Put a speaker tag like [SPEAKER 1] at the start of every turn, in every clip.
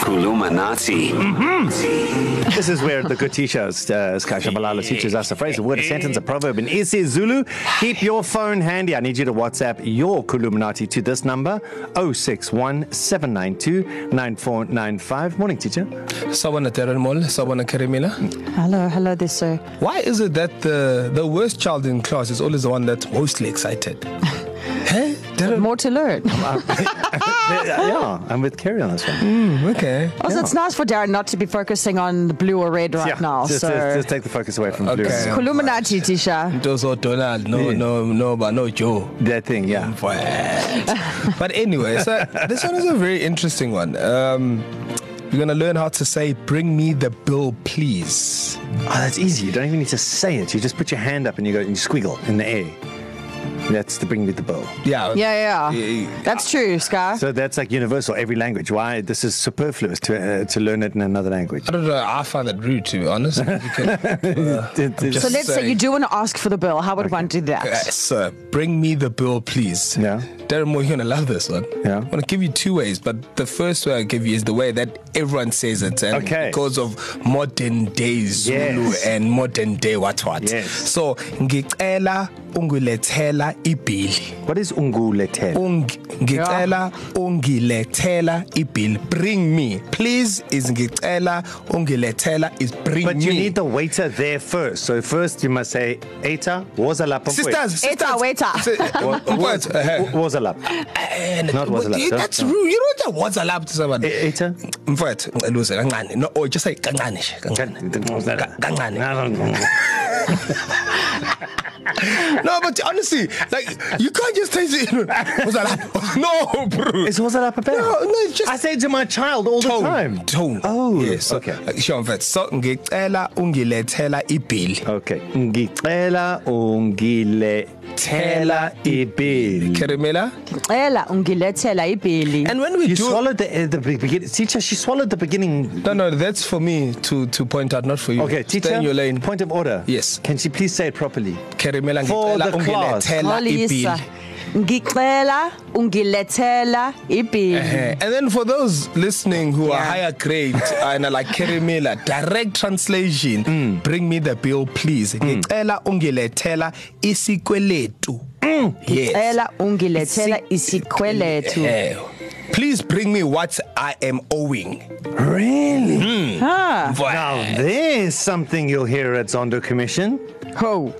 [SPEAKER 1] Kulumanati.
[SPEAKER 2] This is where the Gutisha uh, Skasha Malala teaches us a phrase, a word, a sentence, a proverb in isiZulu. Keep your phone handy. I need you to WhatsApp your Kuluminati to this number 061 792 9495. Morning, teacher.
[SPEAKER 3] Sawana Terran Mall, Sawana Karimila.
[SPEAKER 4] Hello, hello there, sir.
[SPEAKER 3] Why is it that the, the worst child in class is always the one that's mostly excited? hey, Darren,
[SPEAKER 4] More to learn.
[SPEAKER 2] Uh, yeah, I'm with Kerry on this one.
[SPEAKER 3] okay.
[SPEAKER 4] Also,
[SPEAKER 2] Yeah.
[SPEAKER 4] it's nice for Darren not to be focusing on the blue or red right
[SPEAKER 2] yeah,
[SPEAKER 4] now.
[SPEAKER 2] just,
[SPEAKER 4] so,
[SPEAKER 2] just, just take the focus away from okay.
[SPEAKER 3] Okay.
[SPEAKER 2] Blue.
[SPEAKER 4] Illuminati, Tisha.
[SPEAKER 3] Those are Donald, no,
[SPEAKER 2] Yeah.
[SPEAKER 3] no, no, but no Joe.
[SPEAKER 2] That thing, yeah.
[SPEAKER 3] What? but anyway, so this one is a very interesting one. Um, you're gonna learn how to say "Bring me the bill, please."
[SPEAKER 2] Oh, that's easy. You don't even need to say it. You just put your hand up and you go and you squiggle in the air. That's to bring me the bill.
[SPEAKER 3] Yeah. Yeah.
[SPEAKER 4] Yeah, yeah. That's true, Sky.
[SPEAKER 2] So that's like universal, every language. Why this is superfluous to uh, to learn it in another language?
[SPEAKER 3] I don't know. I find that rude, to be honest. You can, uh,
[SPEAKER 2] It-
[SPEAKER 3] I'm
[SPEAKER 2] it's-
[SPEAKER 3] just
[SPEAKER 4] So let's say you
[SPEAKER 3] saying.
[SPEAKER 4] do want to ask for the bill. How would one do that?
[SPEAKER 3] Uh, sir, bring me the bill, please.
[SPEAKER 2] Yeah.
[SPEAKER 3] Darren Moore, you're going to love this one.
[SPEAKER 2] Yeah.
[SPEAKER 3] I'm going to give you two ways, but the first way I give you is the way that everyone says it. And
[SPEAKER 2] Okay.
[SPEAKER 3] Because of modern day Zulu
[SPEAKER 2] Yes.
[SPEAKER 3] and modern day what what.
[SPEAKER 2] Yes.
[SPEAKER 3] So, ngicela ungilethela ibili.
[SPEAKER 2] What is ungulete?
[SPEAKER 3] Ung, ngicela ungilethela ibili. Bring me. Please is ngicela ungilethela is bring
[SPEAKER 2] But
[SPEAKER 3] me.
[SPEAKER 2] you need the waiter there first. So first you must say eta wazalap.
[SPEAKER 3] Sisters, sisters.
[SPEAKER 4] Eta, weta.
[SPEAKER 3] Si- What? Uh-huh.
[SPEAKER 2] Wazalap.
[SPEAKER 3] And
[SPEAKER 2] Not
[SPEAKER 3] but
[SPEAKER 2] WhatsApp,
[SPEAKER 3] you-
[SPEAKER 2] don't-
[SPEAKER 3] That's
[SPEAKER 2] no.
[SPEAKER 3] rude. You don't know WhatsApp to someone.
[SPEAKER 2] E-, Eta.
[SPEAKER 3] Mfowethu, ngicela uze kancane. No, or just say kancane nje, kancane. Ka- Kancane. No, but honestly, like you can't just say it. WhatsApp. No, bro.
[SPEAKER 2] Is wazalap a bell?
[SPEAKER 3] No, no, it's just
[SPEAKER 2] I say it to my child all
[SPEAKER 3] tone.
[SPEAKER 2] the time.
[SPEAKER 3] Tone.
[SPEAKER 2] Oh,
[SPEAKER 3] yes. So,
[SPEAKER 2] okay.
[SPEAKER 3] Sure, mfowethu. So ngicela ungilethela ibhili.
[SPEAKER 2] Okay. Ngicela ungile tela ibil.
[SPEAKER 3] Kerimela.
[SPEAKER 4] Ela ungilethela ibili.
[SPEAKER 3] And when we
[SPEAKER 2] You
[SPEAKER 3] do
[SPEAKER 2] swallowed the, uh, the beginning. Teacher, she swallowed the beginning.
[SPEAKER 3] No, no, that's for me to to point out, not for you.
[SPEAKER 2] Okay,
[SPEAKER 3] Mm. Stay
[SPEAKER 2] teacher.
[SPEAKER 3] in your lane.
[SPEAKER 2] Point of order.
[SPEAKER 3] Yes.
[SPEAKER 2] Can she please say it properly?
[SPEAKER 3] Kerimela
[SPEAKER 2] For
[SPEAKER 3] ngicela
[SPEAKER 2] the class.
[SPEAKER 3] ungilethela
[SPEAKER 4] Xolisa.
[SPEAKER 3] ibhili.
[SPEAKER 4] Ngicela ungilethela ibili.
[SPEAKER 3] Uh-huh. And then for those listening who yeah. are
[SPEAKER 4] Yeah.
[SPEAKER 3] higher grade and are like Kerry Miller, direct translation, mm. bring me the bill, please.
[SPEAKER 2] Mm.
[SPEAKER 3] Ngicela ungilethela isikweletu.
[SPEAKER 2] Mm.
[SPEAKER 3] Yes.
[SPEAKER 4] Ela ungilethela isikweletu.
[SPEAKER 3] Eh, Please bring me what I am owing.
[SPEAKER 2] Really?
[SPEAKER 4] Ha.
[SPEAKER 2] Now there's something you'll hear at Zondo Commission.
[SPEAKER 4] Ho.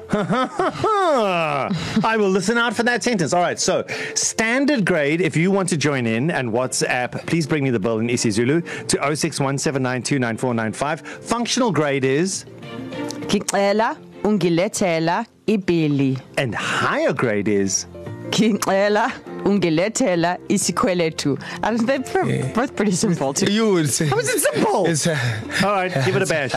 [SPEAKER 2] I will listen out for that sentence. All right, so standard grade, if you want to join in and WhatsApp, please bring me the bill in isiZulu to 0617929495. Functional grade is,
[SPEAKER 4] Ngicela ungilethela ibili.
[SPEAKER 2] and higher grade is,
[SPEAKER 4] Ngicela ungilethela isikweletu. And they're pr- both pretty simple too.
[SPEAKER 3] You would say.
[SPEAKER 2] how is it simple?
[SPEAKER 3] It's, uh,
[SPEAKER 2] All right, give it a bash.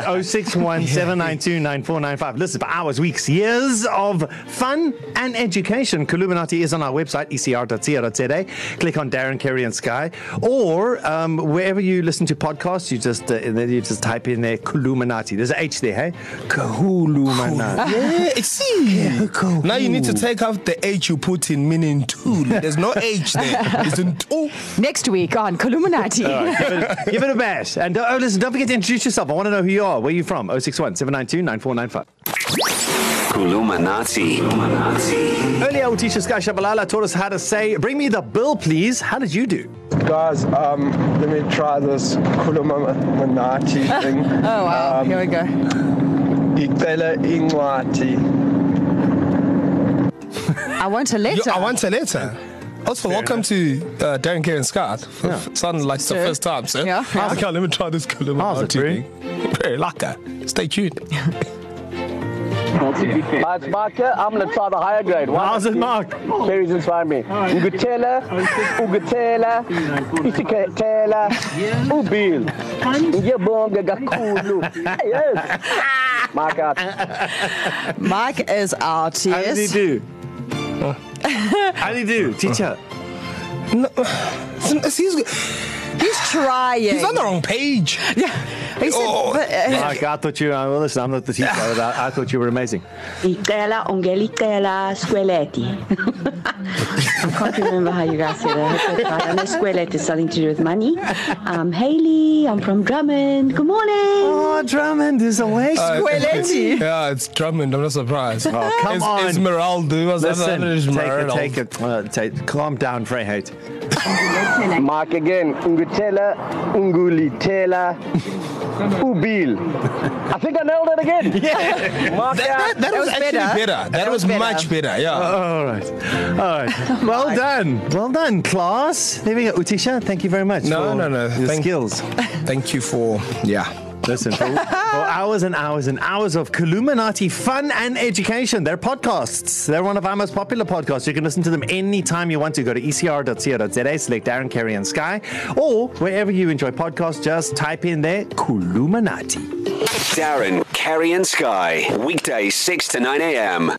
[SPEAKER 2] 0617929495. Listen for hours, weeks, years of fun and education. Columinati is on our website, E ecr.co.za. Click on Darren, Kerry, and Sky. Or um, wherever you listen to podcasts, you just uh, and then you just type in there Columinati. There's an H there, hey? Columinati.
[SPEAKER 3] yeah, it's- see.
[SPEAKER 2] Ah. cool.
[SPEAKER 3] Now you need to take out the H you put in, meaning two. There's no H there. It's in two.
[SPEAKER 4] Next week on Columinati.
[SPEAKER 2] give, it, give it a bash. And uh, oh, listen, don't forget to introduce yourself. I want to know who you are. Where are you from? 061 792 9495.
[SPEAKER 1] Kulumanati. Kulumanati.
[SPEAKER 2] Earlier, our teacher Sky Shabalala taught us how to say, Bring me the bill, please. How did you do?
[SPEAKER 5] Guys, um, let me try this Kulumamanati thing.
[SPEAKER 4] Oh wow,
[SPEAKER 3] Um,
[SPEAKER 4] here we go.
[SPEAKER 5] Icela incwadi.
[SPEAKER 4] I want a letter.
[SPEAKER 3] Yo, I want a letter. Also, welcome to uh, Darren Kerr and Scott. For yeah. Sounded like the
[SPEAKER 4] Sure.
[SPEAKER 3] first time, sir.
[SPEAKER 4] Yeah, yeah.
[SPEAKER 3] Okay, let me try this Kuluma
[SPEAKER 2] How's it, Bree?
[SPEAKER 3] Very lucky. Stay tuned.
[SPEAKER 6] Hi, it's Mark here. I'm going to try the higher grade. Why
[SPEAKER 2] How's it, Mark?
[SPEAKER 6] Mary's inspired me. Ugutela, Ugutela, Isikatela, Ubil. Ngiyabonga kakhulu. Yes. Mark out.
[SPEAKER 4] Mike is out.
[SPEAKER 2] How did he
[SPEAKER 4] Yes.
[SPEAKER 2] do? How did he do, teacher?
[SPEAKER 3] No, he's, he's
[SPEAKER 4] Trying.
[SPEAKER 3] on the wrong page.
[SPEAKER 4] Yeah. He said,
[SPEAKER 3] Oh.
[SPEAKER 4] but, uh,
[SPEAKER 2] Like, I thought you. Uh, well, listen, I'm not the teacher. but I, I thought you were amazing.
[SPEAKER 7] Icela, Ungelicela, Squeletti. I can't remember how you guys said it. It's okay. I know Squeletti is something to do with money. I'm Haley. I'm from Drummond. Good morning.
[SPEAKER 2] Oh, Drummond is awake.
[SPEAKER 3] Uh,
[SPEAKER 4] Squeletti.
[SPEAKER 3] yeah, it's Drummond. I'm not surprised.
[SPEAKER 2] Oh, come
[SPEAKER 3] it's,
[SPEAKER 2] on.
[SPEAKER 3] Esmeralda. Was
[SPEAKER 2] Listen, take it,
[SPEAKER 3] Esmeralda.
[SPEAKER 2] take it, uh, take, calm down, Freyheit.
[SPEAKER 6] Mark again. Ungutela, Ungulitela, Ubil. I think I nailed it again. Yeah. Mark
[SPEAKER 3] That,
[SPEAKER 6] out.
[SPEAKER 3] that was,
[SPEAKER 4] was
[SPEAKER 3] actually better.
[SPEAKER 4] better.
[SPEAKER 3] That,
[SPEAKER 4] That
[SPEAKER 3] was,
[SPEAKER 4] was better.
[SPEAKER 3] much better. Yeah.
[SPEAKER 2] All right, all right. Well done, Oh, well done, class. There we go, Utisha. Thank you very much.
[SPEAKER 3] No,
[SPEAKER 2] for
[SPEAKER 3] no, no.
[SPEAKER 2] Your
[SPEAKER 3] Thank-
[SPEAKER 2] skills.
[SPEAKER 3] Thank you for yeah.
[SPEAKER 2] Listen, for, for hours and hours and hours of Columinati fun and education. They're podcasts. They're one of our most popular podcasts. You can listen to them anytime you want to. E Go to ecr.co.za, select Aaron, Carey, and Sky, or wherever you enjoy podcasts, just type in there Columinati.
[SPEAKER 1] Darren, Kerry, and Sky. Weekdays 6 to 9 a.m.